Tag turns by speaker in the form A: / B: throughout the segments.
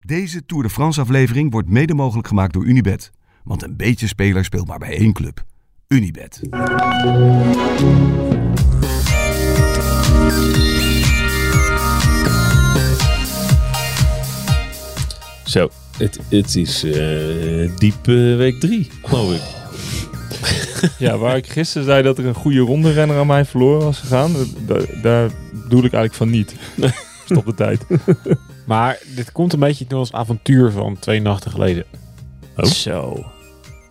A: Deze Tour de France aflevering wordt mede mogelijk gemaakt door Unibet. Want een beetje speler speelt maar bij één club. Unibet.
B: Zo, het, het is eh, diep eh, week drie, geloof ik.
C: Ja, waar ik gisteren zei dat er een goede ronde renner aan mij verloren was gegaan, da- daar, bedoel ik eigenlijk van niet. Stop de tijd.
D: Maar dit komt een beetje door ons avontuur van twee nachten geleden.
B: Oh.
D: Zo.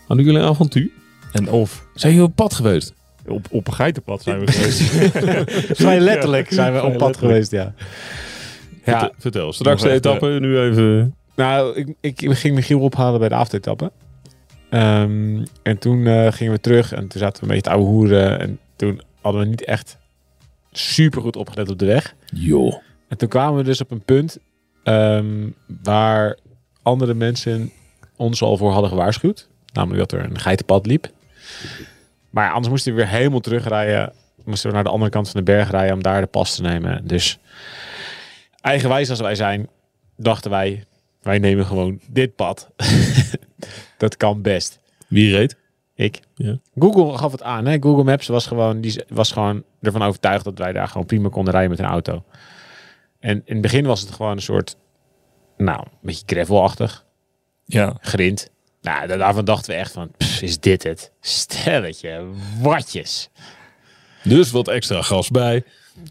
B: Hadden jullie een avontuur?
C: En of.
B: Zijn jullie op pad geweest?
C: Op, op een geitenpad zijn we geweest.
D: Vrij letterlijk
C: Ja.
D: zijn we op
C: Vrij
D: pad geweest, ja. Ja,
B: Vertel, vertel. Straks de
C: Nog even- eh,
B: etappe, nu even...
D: nou, ik, ik ging Michiel ophalen bij de avondetappe. Ehm, en toen eh, gingen we terug en toen zaten we een beetje te ouwe hoeren. En toen hadden we niet echt super goed opgelet op de weg.
B: Joh.
D: En toen kwamen we dus op een punt ehm, waar andere mensen ons al voor hadden gewaarschuwd. Namelijk dat er een geitenpad liep. Maar ja, anders moesten we weer helemaal terugrijden. Moesten we naar de andere kant van de berg rijden om daar de pas te nemen. Dus eigenwijs als wij zijn, dachten wij, wij nemen gewoon dit pad. dat kan best.
B: Wie reed?
D: Ik.
B: Ja.
D: Google gaf het aan. Hè? Google Maps was gewoon, die was gewoon ervan overtuigd dat wij daar gewoon prima konden rijden met een auto. En in het begin was het gewoon een soort, nou, een beetje gravelachtig,
C: ja.
D: grind. Nou, da- daarvan dachten we echt van, pff, is dit het? Stelletje, watjes.
B: Dus wat extra gas bij.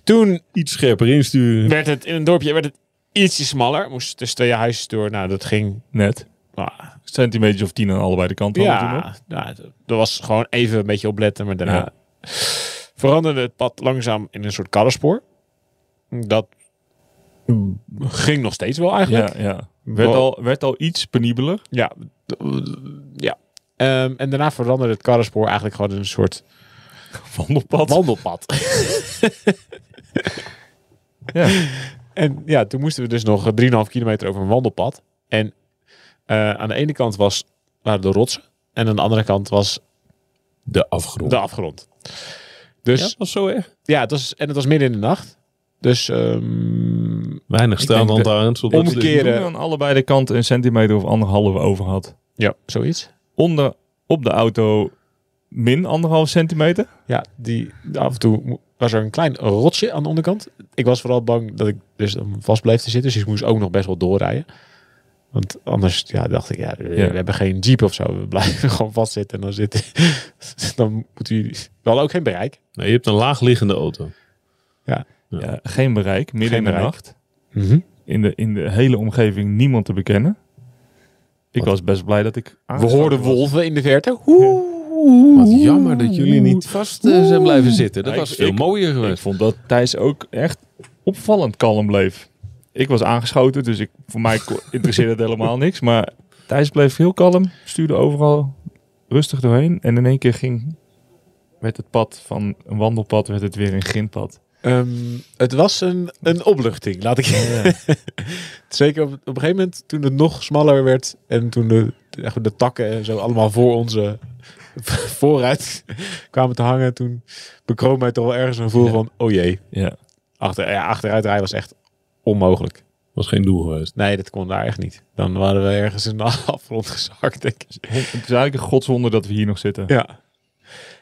D: Toen
B: Iets scherper insturen.
D: werd het, in een dorpje werd het ietsje smaller. Moest tussen twee huizen door. Nou, dat ging,
C: Net.
D: nou,
C: Centimeters of tien aan allebei de kanten. hadden we toen
D: Ja,
C: nog.
D: ja, dat was gewoon even een beetje opletten, maar daarna
C: Ja.
D: veranderde het pad langzaam in een soort karrenspoor. Dat ging nog steeds wel eigenlijk.
C: Ja, ja. Werd
D: Wel-
C: al, werd al iets penibeler.
D: Ja. d- ja. Ehm, en daarna veranderde het karrenspoor eigenlijk gewoon in een soort
C: Wandelpad.
D: wandelpad.
C: Ja.
D: en ja, toen moesten we dus nog eh, 3,5 kilometer over een wandelpad. En eh, aan de ene kant was, waren de rotsen en aan de andere kant was
B: De afgrond.
D: de afgrond. Dus
B: Ja, dat was zo erg.
D: Ja, het was, en het was midden in de nacht. Dus ehm,
B: Weinig
D: Ik denk
B: staande
D: de-
B: aan. zodat ze-
D: omkeer-
C: Toen aan allebei de kanten een centimeter of anderhalf over had.
D: ja, zoiets.
C: Onder, op de auto min anderhalf centimeter.
D: Ja, die, af en toe mo- was er een klein rotsje aan de onderkant. Ik was vooral bang dat ik dus dan vast bleef te zitten. Dus ik moest ook nog best wel doorrijden. Want anders ja, dacht ik, ja, we,
C: Ja.
D: we hebben geen jeep of zo. We blijven gewoon vastzitten. En dan, zit, dan moet u wel ook geen bereik.
B: Nee, je hebt een laagliggende auto. Ja.
C: Ja, geen bereik. Midden
D: Geen
C: in de
D: bereik. Mhm.
C: nacht. Ah, in de, in de hele omgeving niemand te bekennen. Ik was best blij dat ik.
D: We hoorden
C: wol.
D: wolven in de verte. Hoe?
B: Wat jammer dat jullie niet vast eh, zijn blijven zitten. Dat
C: Nee,
B: was
C: ik-
B: veel
C: ik-
B: mooier
C: Ik
B: geweest.
C: vond dat Thijs ook echt opvallend kalm bleef. Ik was aangeschoten, dus ik, voor mij ko- interesseerde het helemaal niks. Maar Thijs bleef heel kalm, stuurde overal rustig doorheen. En in één keer ging, werd het pad van een wandelpad werd het weer een grindpad.
D: Ehm, het was een, een opluchting, laat ik Zeker op, op een gegeven moment toen het nog smaller werd en toen de, de, de takken en zo allemaal voor onze vooruit kwamen te hangen, toen bekroop mij toch wel ergens een gevoel
C: Ja.
D: van, oh jee,
C: Ja,
D: achter, ja, achteruit rijden was echt onmogelijk.
B: was geen doel geweest.
D: Nee, dat kon daar echt niet. Dan waren we ergens in de afgrond gezakt, denk ik.
C: het is eigenlijk een godswonder dat we hier nog zitten.
D: Ja.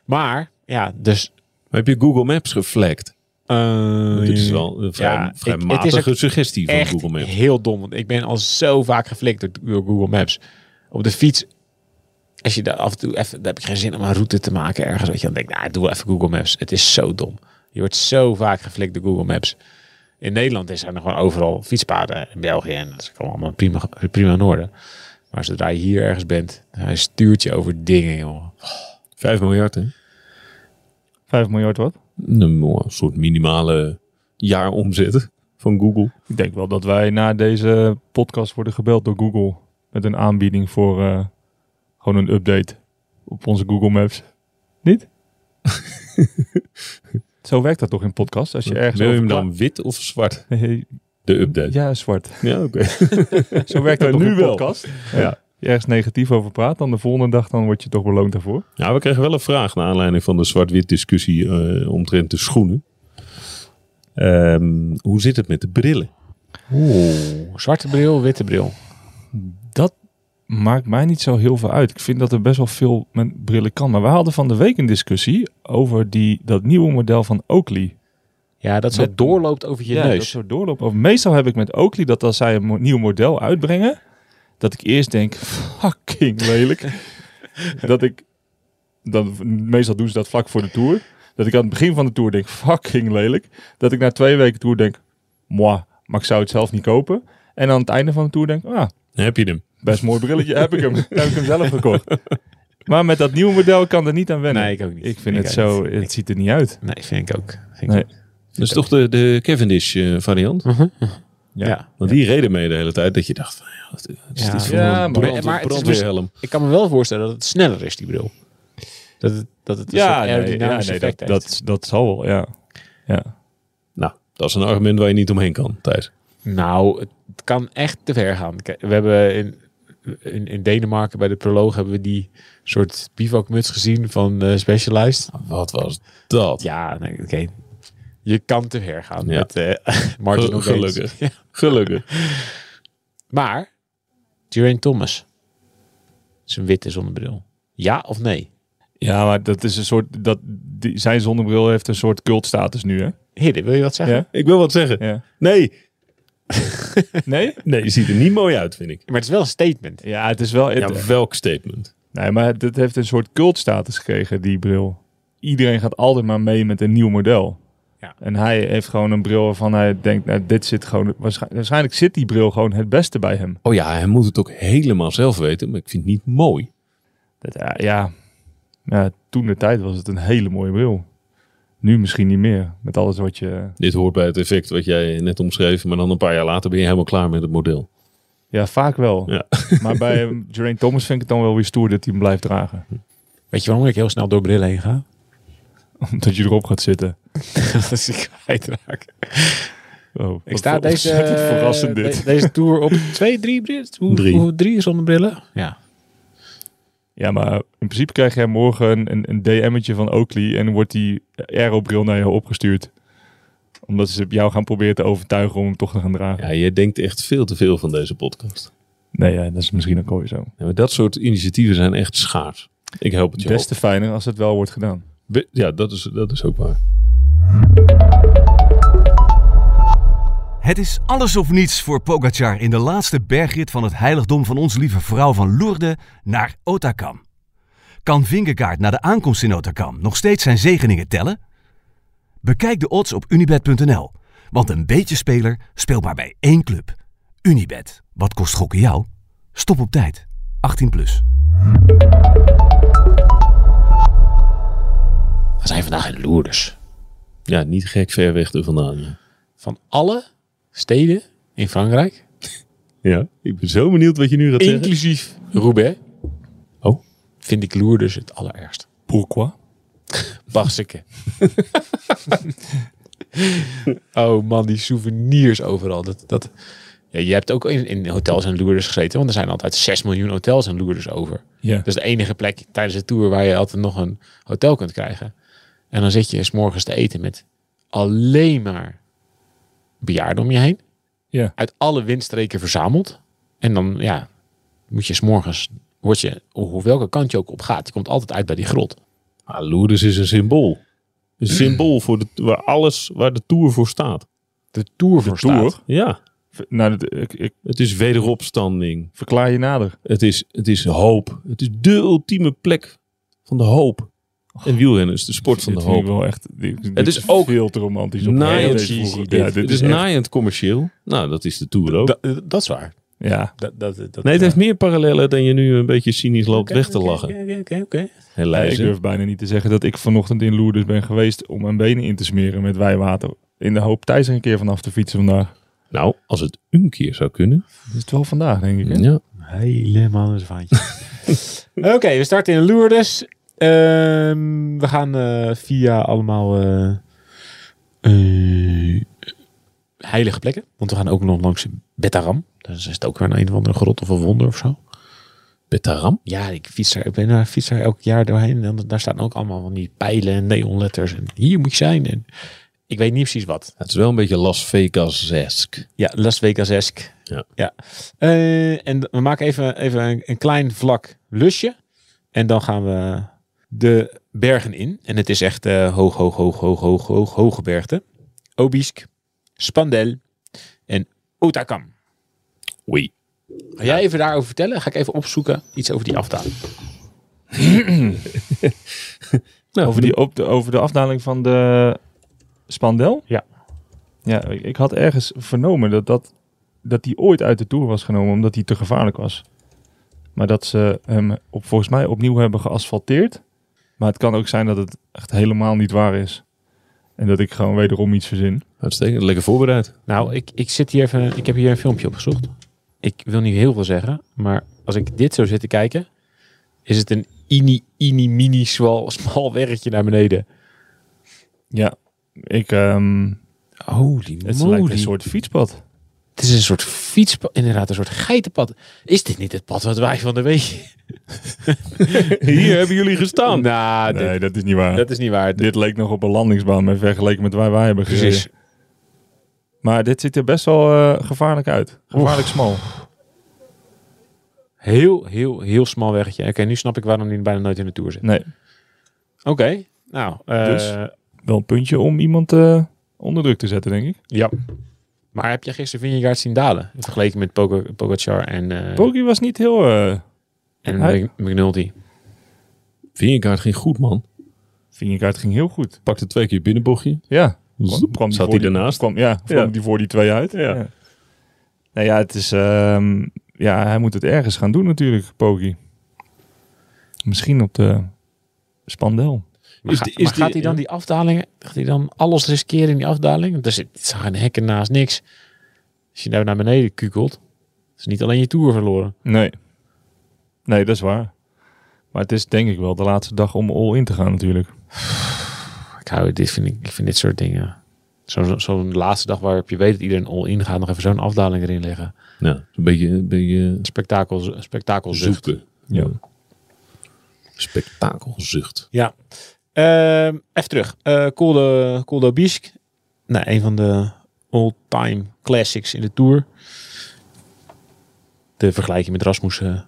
D: Maar, ja, dus...
B: Maar heb je Google Maps geflekt?
D: eh,
B: Dit is wel een vrij,
D: Ja,
B: vrij
D: ik- het is
B: matige
D: ook
B: suggestie van
D: echt
B: Google Maps.
D: heel dom. Want ik ben al zo vaak geflikt door, door Google Maps. Op de fiets, als je daar af en toe even, daar heb ik geen zin om een route te maken ergens. Weet je, dan denk ik, nou, doe even Google Maps. Het is zo dom. Je wordt zo vaak geflikt door Google Maps. In Nederland zijn er gewoon overal fietspaden. In België en dat is gewoon allemaal prima, prima in orde. Maar zodra je hier ergens bent, hij stuurt je over dingen, joh.
B: 5 miljard, hè?
C: 5 miljard wat?
B: Een mo- soort minimale jaaromzet van Google.
C: Ik denk wel dat wij na deze podcast worden gebeld door Google met een aanbieding voor eh, gewoon een update op onze Google Maps. Niet? Zo werkt dat toch in podcasts? Als je ergens
B: Wil je hem
C: over
B: dan wit of zwart?
C: kla-
B: De update.
C: Ja, zwart.
B: Ja, oké.
C: Zo werkt
B: Ja,
C: dat toch
B: nu
C: in
B: wel.
C: podcast.
B: Ja.
C: Je ergens negatief over praat, dan de volgende dag dan word je toch beloond daarvoor.
B: Nou, we kregen wel een vraag naar aanleiding van de zwart-wit discussie eh, omtrent de schoenen. Ehm, hoe zit het met de brillen?
D: Oeh, zwarte bril, witte bril.
C: dat maakt mij niet zo heel veel uit. Ik vind dat er best wel veel met brillen kan. Maar we hadden van de week een discussie over die, dat nieuwe model van Oakley.
D: Ja, dat zo
C: Met-
D: doorloopt over je
C: ja, dat
D: neus.
C: zo doorlopen. Of meestal heb ik met Oakley dat als zij een mo- nieuw model uitbrengen, dat ik eerst denk, fucking lelijk. dat ik, dan, meestal doen ze dat vlak voor de tour. Dat ik aan het begin van de tour denk, fucking lelijk. Dat ik na twee weken tour denk, moi, maar ik zou het zelf niet kopen. En aan het einde van de tour denk, ah,
B: Dan heb je hem.
C: best mooi brilletje, heb ik hem. heb ik hem zelf gekocht. Maar met dat nieuwe model kan er niet aan wennen.
D: Nee, ik ook niet.
C: Ik vind
D: Ik
C: het
D: ook
C: zo,
D: niet.
C: het ziet er niet uit.
D: Nee, vind ik ook. Vind ik
C: Nee.
D: ook.
B: Dat is toch de, de Cavendish eh, variant?
C: Mhm.
D: Ja.
B: Want die reden mee de hele tijd dat je dacht, van, ja, wat- wat is
D: Ja.
B: dit voor
C: Ja,
B: een
C: maar-
B: brand,
D: maar het is dus-
B: brandweerhelm?
D: Ik kan me wel voorstellen dat het sneller is, die bril. Dat het, dat het een soort
C: nee,
D: aerodynamisch
C: ja, nee,
D: effect
C: dat,
D: heeft.
C: dat, dat zal wel, ja. ja.
B: Nou, dat is een argument waar je niet omheen kan, Thijs.
D: Nou, het kan echt te ver gaan. Kijk, We hebben in, in, in Denemarken bij de proloog hebben we die soort bivakmuts gezien van eh, Specialized.
B: Wat was dat?
D: Ja, nee, oké. Je kan te ver gaan
B: Ja.
D: met eh margin
B: Gel-
D: of gains.
B: gelukkig. Gelukkig.
D: Maar, Geraint Thomas. Zijn witte zonnebril. Ja of nee?
C: Ja, maar dat is een soort. Dat, die, zijn zonnebril heeft een soort cultstatus nu, hè?
D: Hidde, wil je wat zeggen?
C: Ja.
B: Ik wil wat zeggen.
C: Ja.
B: Nee,
C: Nee?
B: nee, je ziet er niet mooi uit, vind ik.
D: Maar het is wel een statement.
C: Ja, het is wel. het-
B: Ja, welk statement?
C: Nee, maar dit heeft een soort cultstatus gekregen, die bril. Iedereen gaat altijd maar mee met een nieuw model.
D: Ja.
C: En hij heeft gewoon een bril waarvan hij denkt, nou, dit zit gewoon. Waarschijnlijk, waarschijnlijk zit die bril gewoon het beste bij hem.
B: Oh ja, hij moet het ook helemaal zelf weten, maar ik vind het niet mooi.
C: Dat, ja, ja. ja, toen de tijd was het een hele mooie bril. Nu misschien niet meer. Met alles wat je.
B: Dit hoort bij het effect wat jij net omschreef, maar dan een paar jaar later ben je helemaal klaar met het model.
C: Ja, vaak wel.
B: Ja.
C: Maar bij eh, Geraint Thomas vind ik het dan wel weer stoer dat hij hem blijft dragen.
D: Weet je waarom ik heel snel door brillen heen ga?
C: Omdat je erop gaat zitten.
D: dat is ik kwijtraak.
C: Oh,
D: Ik sta deze, eh,
C: verrassend
B: eh,
C: dit.
D: de- deze tour op twee, drie brillen. Hoe,
B: Drie.
D: Hoe, drie zonnebrillen. Ja.
C: Ja, maar in principe krijg jij morgen een, een DM'tje van Oakley en dan wordt die aerobril naar je opgestuurd. Omdat ze jou gaan proberen te overtuigen om hem toch te gaan dragen.
B: Ja, je denkt echt veel te veel van deze podcast.
C: Nee, ja, dat is misschien ook alweer zo.
B: Ja, maar dat soort initiatieven zijn echt schaars. Ik help het je
C: Des te fijner als het wel wordt gedaan.
B: Be- Ja, dat is, dat is ook waar.
A: Het is alles of niets voor Pogacar in de laatste bergrit van het heiligdom van onze lieve vrouw van Lourdes naar Otakam. Kan Vingegaard na de aankomst in Otakam nog steeds zijn zegeningen tellen? Bekijk de odds op unibet.nl, want een beetje speler speelt maar bij één club. Unibet. Wat kost gokken jou? Stop op tijd. 18 plus.
D: We zijn vandaag in Lourdes.
B: Ja, niet gek ver weg er vandaan. Ja.
D: Van alle steden in Frankrijk,
B: Ja, ik ben zo benieuwd wat je nu gaat zeggen.
D: inclusief Roubaix,
B: Oh.
D: vind ik Lourdes het allerergst.
C: Pourquoi?
D: Barsikke. oh man, die souvenirs overal. Dat, dat... Ja, je hebt ook in, in hotels in Lourdes gezeten, want er zijn altijd 6 miljoen hotels in Lourdes over.
C: Ja.
B: Dus-
D: Dat is de enige plek tijdens de tour waar je altijd nog een hotel kunt krijgen. En dan zit je 's morgens te eten met alleen maar bejaarden om je heen.
C: Ja.
D: Uit alle windstreken verzameld. En dan ja, moet je 's morgens word je, hoe hoe welke kant je ook op gaat, je komt altijd uit bij die grot.
B: Ah, Lourdes is een symbool. Een symbool voor de, waar alles waar de Tour voor staat.
D: De tour voor
C: Tour?
B: Ja,
C: V- Nou, dat- ik, ik
B: het is wederopstanding.
C: verklaar je nader.
B: Het is, het is hoop. Het is de ultieme plek van de hoop. En wielrennen is de sport van de
C: Dit vind ik
B: hoop.
C: wel echt, dit- dit
B: Het is ook
C: veel te romantisch. Op
B: naaiend
C: Heel deze
D: cheesy
C: vroege-
D: dit.
C: Ja,
B: Het is
C: echt-
B: naaiend commercieel. Nou, dat is de Tour ook.
D: Dat, dat is waar.
C: Ja,
D: Dat, dat, dat,
B: nee, het heeft meer parallellen dan je nu een beetje cynisch loopt weg te lachen.
D: Oké, oké, oké.
C: ik
B: Helaas. hè.
C: durf bijna niet te zeggen dat ik vanochtend in Lourdes ben geweest om mijn benen in te smeren met wijwater. In de hoop Thijs er een keer vanaf te fietsen vandaag.
B: Nou, als het een keer zou kunnen.
C: Dat is het wel vandaag, denk ik. hè?
B: Ja.
D: Helemaal een zwaantje. Oké, we starten in Lourdes. Ehm, we gaan eh, via allemaal eh, eh, heilige plekken. Want we gaan ook nog langs Betaram. Dus is het ook weer een, een of andere grot of een wonder of zo.
B: Betaram?
D: Ja, ik fiets daar, ik ben daar, fiets daar elk jaar doorheen. En dan- daar staan ook allemaal van die pijlen en neonletters. En hier moet je zijn. En Ik weet niet precies wat.
B: Het is wel een beetje Las Vegas-esk.
D: Ja, Las Vegas-esk.
B: Ja.
D: Eh, en we maken even, even een, een klein vlak lusje. En dan gaan we de bergen in. En het is echt eh, hoog, hoog, hoog, hoog, hoog, hoog, hoge bergte. Obisk, Spandel en Otakam.
B: Oei.
D: Ga jij even daarover vertellen? Ga ik even opzoeken iets over die afdaling.
B: Nou,
C: Over, die, op de, over de afdaling van de Spandel?
D: Ja.
C: Ja, ik ik had ergens vernomen dat, dat, dat die ooit uit de Tour was genomen omdat die te gevaarlijk was. Maar dat ze hem op, volgens mij opnieuw hebben geasfalteerd. Maar het kan ook zijn dat het echt helemaal niet waar is. En dat ik gewoon wederom iets verzin.
B: uitstekend. Lekker voorbereid.
D: Nou, ik, ik zit hier even. Ik heb hier een filmpje opgezocht. Ik wil niet heel veel zeggen, maar als ik dit zo zit te kijken, is het een ini, ini, mini, smal, smal weggetje naar beneden.
C: Ja, ik... ehm
D: Holy
C: het lijkt een soort fietspad.
D: het is een soort fietspad, inderdaad, een soort geitenpad. Is dit niet het pad wat wij van de week
B: Hier hebben jullie gestaan.
D: Nou, dit-
C: Nee, dat is niet waar.
D: dat is niet waar.
C: Dit leek nog op een landingsbaan maar vergeleken met waar wij hebben gezeten.
D: Precies.
C: Maar dit ziet er best wel eh, gevaarlijk uit. Gevaarlijk smal.
D: Heel, heel, heel smal weggetje. Oké, nu snap ik waarom die bijna nooit in de tour zit.
C: Nee,
D: Oké, nou, eh,
C: Dus? wel een puntje om iemand eh, onder druk te zetten, denk ik.
D: ja. Maar heb je gisteren Vingegaard zien dalen? In vergeleken met Poga- Pogacar en, eh,
C: Poki was niet heel... eh
D: en
C: Hij-
D: Mc- McNulty?
B: Vingerkaart ging goed, man.
C: Vingerkaart ging heel goed.
B: Pakte twee keer binnenbochtje.
C: Ja.
B: Zoep,
C: die
B: zat
C: voor
B: hij
C: die-
B: ernaast.
C: Kwam, ja, kwam
B: Ja.
C: die voor die twee uit.
B: Ja.
C: Nou ja, het is... ehm, ja, hij moet het ergens gaan doen natuurlijk, Poki. Misschien op de Spandel.
D: Maar,
B: Is
D: ga-
B: die-
D: maar
B: is die-
D: gaat hij dan
B: ja.
D: die afdalingen, gaat hij dan alles riskeren in die afdaling? Want er zit er zijn geen hekken naast niks. Als je nou naar beneden kukelt, is niet alleen je tour verloren.
C: Nee. Nee, dat is waar. Maar het is denk ik wel de laatste dag om all in te gaan natuurlijk.
D: Ik hou dit, vind ik, ik vind dit soort dingen. Zo- Zo'n laatste dag waarop je weet dat iedereen all-in gaat, nog even zo'n afdaling erin leggen.
B: Nou, een beetje, een beetje
D: Een spektakel, een spektakelzucht.
B: zoeken.
C: Ja.
B: Spektakelzucht.
D: Ja. Ehm, even terug. Eh Koldo, Koldo Bisk. Nou, een van de all-time classics in de Tour. De vergelijking met Rasmussen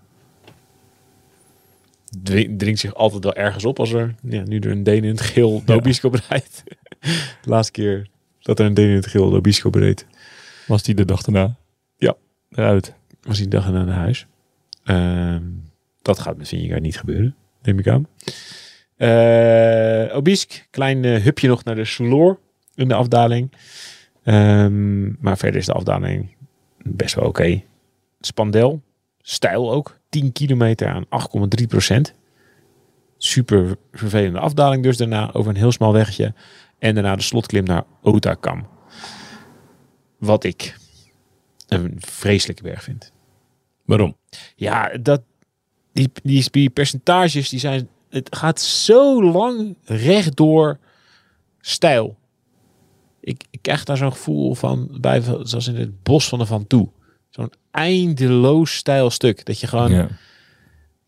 D: dwi- dringt zich altijd wel ergens op als er ja, nu er een Deen in het geel Dobisk op rijdt. De laatste keer dat er een Deen in het geel Dobisk op reed,
C: Was die de dag daarna?
D: Ja.
C: Eruit.
D: was die dag naar huis. Ehm, dat gaat met Vingegaard niet gebeuren, neem ik aan. Eh, Obisk, klein eh, hupje nog naar de Sloor in de afdaling. Ehm, maar verder is de afdaling best wel oké. Spandel, stijl ook. 10 kilometer aan 8,3 procent. Super vervelende afdaling dus daarna over een heel smal weggetje. En daarna de slotklim naar Otakam. Wat ik een vreselijke berg vind.
B: Waarom?
D: Ja, dat, die, die, die percentages die zijn. Het gaat zo lang rechtdoor stijl. Ik, ik krijg daar zo'n gevoel van bij, zoals in het bos van de Van Toe. Zo'n eindeloos stijl stuk. Dat je gewoon
C: Ja.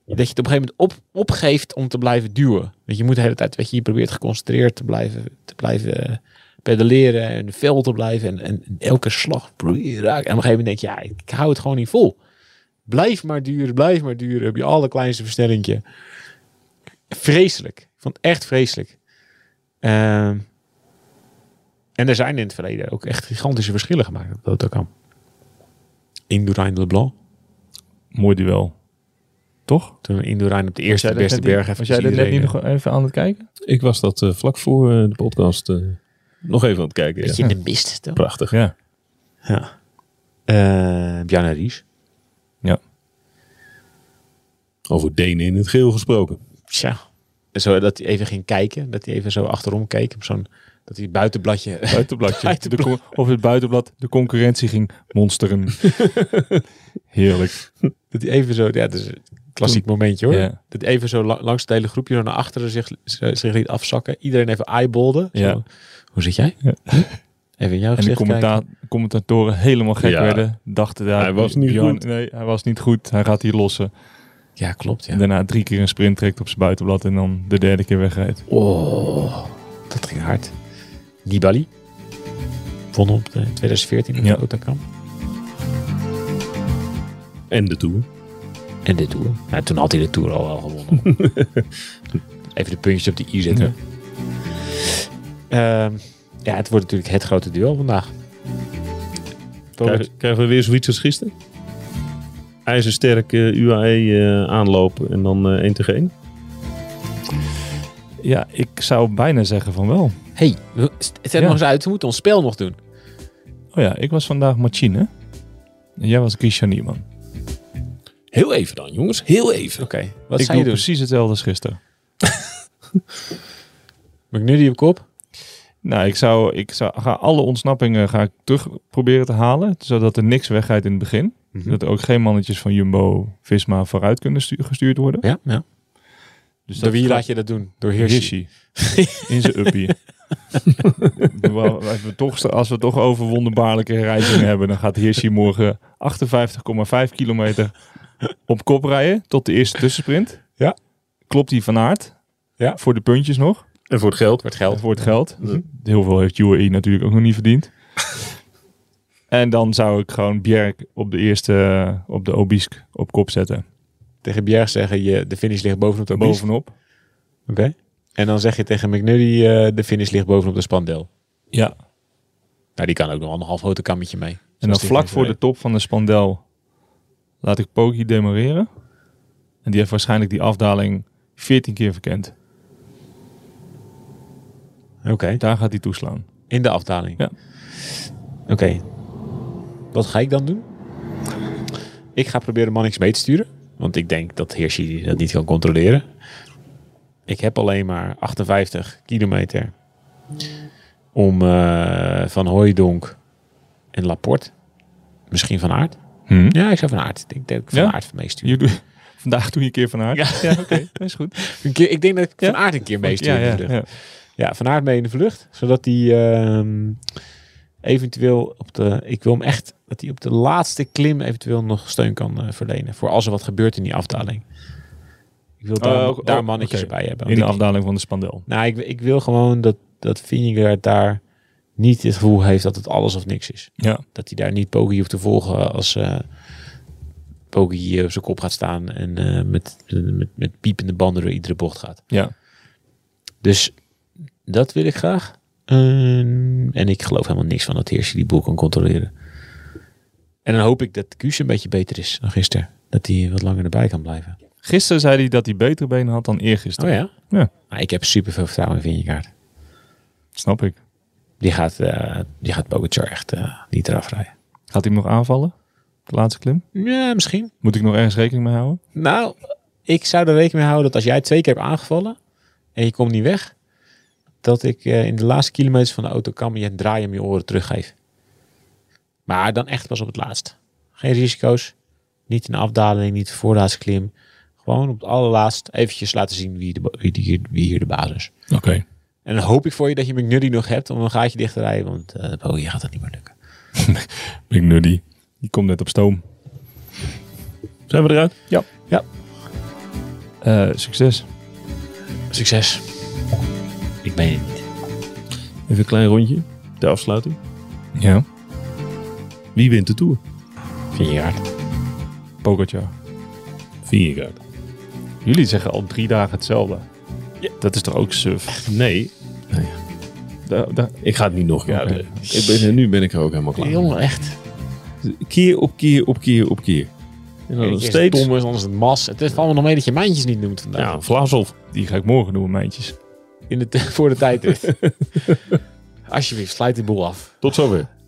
D: dat je het op een gegeven moment op, opgeeft om te blijven duwen. Want je moet de hele tijd, weet je, je probeert geconcentreerd te blijven, te blijven eh, pedaleren en fel te blijven. En, en, en elke slag probeer je raak. En op een gegeven moment denk je, ja, ik hou het gewoon niet vol. Blijf maar duren, blijf maar duren. Op je allerkleinste versnellingje. Vreselijk. Ik vond het echt vreselijk. Ehm, en er zijn in het verleden ook echt gigantische verschillen gemaakt op de autokamp. Indurain Leblanc.
C: Mooi duel. Toch?
D: Toen Indurain op de eerste
C: Was jij
D: beste
C: dat net
D: berg
C: niet- Was
D: even
C: jij
D: zien
C: er net niet
D: reden.
C: nog even aan het kijken?
B: Ik was dat eh, vlak voor eh, de podcast eh, nog even aan het kijken. ja.
D: Beetje in de mist, toch?
B: Prachtig.
C: Ja.
D: Ja. Eh Bjarne Ries.
B: Over Denen in het geel gesproken.
D: Tja. Zo dat hij even ging kijken. Dat hij even zo achterom keek. Op zo'n, dat hij het buitenbladje...
C: Buitenbladje.
D: Buitenblad.
C: De con- of het buitenblad. De concurrentie ging monsteren. Heerlijk.
D: dat hij even zo... Ja, dat is een klassiek momentje hoor.
C: Ja.
D: Dat hij even zo la- langs het hele groepje zo naar achteren zich, zich zich liet afzakken. Iedereen even eyeballde. Zo,
C: Ja.
D: Hoe zit jij? Hm?
C: Ja.
D: Even in jouw
C: En de
D: gezicht kijken.
C: commenta- commentatoren helemaal gek
B: Ja.
C: werden. Dachten daar.
B: Hij was niet goed.
C: Nee, hij was niet goed. Hij gaat hier lossen.
D: Ja, klopt. Ja.
C: En daarna drie keer een sprint trekt op zijn buitenblad. En dan de derde keer wegrijdt.
D: Oh, dat ging hard. Nibali. wonnen op de 2014 in
C: Ja.
D: de Otakamp.
B: En de Tour.
D: En de Tour. Ja, toen had hij de Tour al wel gewonnen. Even de puntjes op de i zetten. Ehm, ja, het wordt natuurlijk het grote duel vandaag.
B: Krijgen, krijgen we weer zoiets als gisteren? IJzersterk eh, UAE eh, aanlopen en dan eh 1 tegen 1.
C: Ja, ik zou bijna zeggen van wel.
D: hey, we- st- zet
C: Ja.
D: nog eens uit. We moeten ons spel nog doen.
C: Oh ja, ik was vandaag Machine. En jij was Guy Nierman.
B: Heel even dan, jongens. Heel even.
D: Oké, wat
C: ik
D: zou
C: doe
D: je doen?
C: precies hetzelfde als gisteren.
D: McNuddy op kop?
C: Nou, ik zou, ik zou ga alle ontsnappingen ga ik terug proberen te halen, zodat er niks weggaat in het begin.
D: Mhm.
C: Dat er ook geen mannetjes van Jumbo, Visma vooruit kunnen stu- gestuurd worden.
D: Ja, ja.
C: Dus
D: Door
C: dat
D: wie
C: gaat-
D: laat je dat doen? Door Hirschi.
C: Hirschi. In zijn uppie. Wel, als, we toch, als we toch over wonderbaarlijke reizingen hebben, dan gaat Hirschi morgen 58,5 kilometer op kop rijden tot de eerste tussensprint.
D: Ja.
C: Klopt hij van aard?
D: Ja.
C: Voor de puntjes nog.
B: En voor het geld.
D: Wordt geld.
C: Voor het geld. Mhm. Heel veel heeft UAE natuurlijk ook nog niet verdiend. en dan zou ik gewoon Bjerk op de eerste, eh, op de Obisk op kop zetten.
D: Tegen Bjerg zeggen je de finish ligt bovenop de boven.
C: Bovenop.
D: Oké. En dan zeg je tegen McNuddy eh, de finish ligt bovenop de spandel.
C: Ja.
D: Nou, die kan ook nog anderhalf autokammetje mee.
C: En dan vlak voor de top van de spandel laat ik Poki demareren. En die heeft waarschijnlijk die afdaling 14 keer verkend.
D: eh, Oké.
C: Daar gaat hij toeslaan.
D: In de afdaling.
C: Ja.
D: Oké. Wat ga ik dan doen? Ik ga proberen Mannix mee te sturen. Want ik denk dat Hirschi dat niet kan controleren. Ik heb alleen maar 58 kilometer om eh, Van Hooijdonk en Laporte. Misschien Van Aert.
C: Hmm?
D: Ja, ik zou Van Aert. Ik denk dat ik Van
C: Ja?
D: Aert van meestuur.
C: Je doet- vandaag doe je een keer van haar.
D: Ja.
C: oké. dat is goed.
D: Een keer- Ik denk dat ik
C: Ja?
D: Van Aert een keer meestuur.
C: ja,
D: in de
C: ja,
D: vlucht.
C: ja.
D: Ja, Van Aert mee in de vlucht. Zodat hij ehm, eventueel op de... Ik wil hem echt... Dat hij op de laatste klim eventueel nog steun kan eh, verlenen. Voor als er wat gebeurt in die afdaling. Ik wil daar,
C: Oh, ook-
D: daar
C: oh,
D: mannetjes
C: oké.
D: bij hebben.
C: In de
D: Want ik-
C: afdaling van de spandel.
D: Nou, ik, ik wil gewoon dat, dat Vinegaard daar niet het gevoel heeft dat het alles of niks is.
C: Ja.
D: Dat hij daar niet Poggi hoeft te volgen als eh Poggi eh, op zijn kop gaat staan. En eh, met, met, met piepende banden door iedere bocht gaat.
C: Ja.
D: Dus dat wil ik graag. Ehm, en ik geloof helemaal niks van dat Hirschi die boel kan controleren. En dan hoop ik dat Kuus een beetje beter is dan gisteren. Dat hij wat langer erbij kan blijven.
C: Gisteren zei hij dat hij betere benen had dan eergisteren.
D: Oh ja?
C: Oh Ja.
D: Maar ik heb super veel vertrouwen in Vingegaard.
C: Snap ik.
D: Die gaat, eh die gaat Pogacar echt eh, niet eraf rijden.
C: Gaat hij hem nog aanvallen? De laatste klim?
D: Ja, misschien.
C: Moet ik nog ergens rekening mee houden?
D: Nou, ik zou er rekening mee houden dat als jij twee keer hebt aangevallen en je komt niet weg, dat ik eh, in de laatste kilometers van de auto kan je een draai om je oren teruggeef. Maar dan echt pas op het laatst. Geen risico's. Niet in de afdaling, niet de voorlaatste klim. Gewoon op het allerlaatst eventjes laten zien wie, de, ba- wie, die- wie hier de basis is.
C: Oké.
D: En dan hoop ik voor je dat je McNuddy nog hebt om een gaatje dicht te rijden. Want eh oh, hier gaat dat niet meer lukken.
C: Ik nuddy. Die komt net op stoom.
B: Zijn we eruit?
C: Eh, succes.
D: Succes. Ik ben het niet.
B: Even een klein rondje. De afsluiting.
C: Ja.
B: Wie wint de Tour?
D: Vind je hard.
C: Pogacar.
B: Vingegaard.
C: Jullie zeggen al drie dagen hetzelfde. Dat is toch ook suf?
B: Nee,
C: Da- da-
B: ik ga het niet nog. Ja,
C: Oké.
B: de- ik ben, nu ben ik er ook helemaal klaar. mee.
D: Jongen, echt.
B: Keer op keer op keer op keer. En dan nog
D: Eerst het
B: steeds.
D: Tom is anders het mas. Het valt me nog mee dat je mijntjes niet noemt vandaag.
B: Ja, Vlaashof.
C: die ga ik morgen doen, meintjes.
D: In de, voor de tijd. Alsjeblieft, sluit die boel af.
B: Tot zover.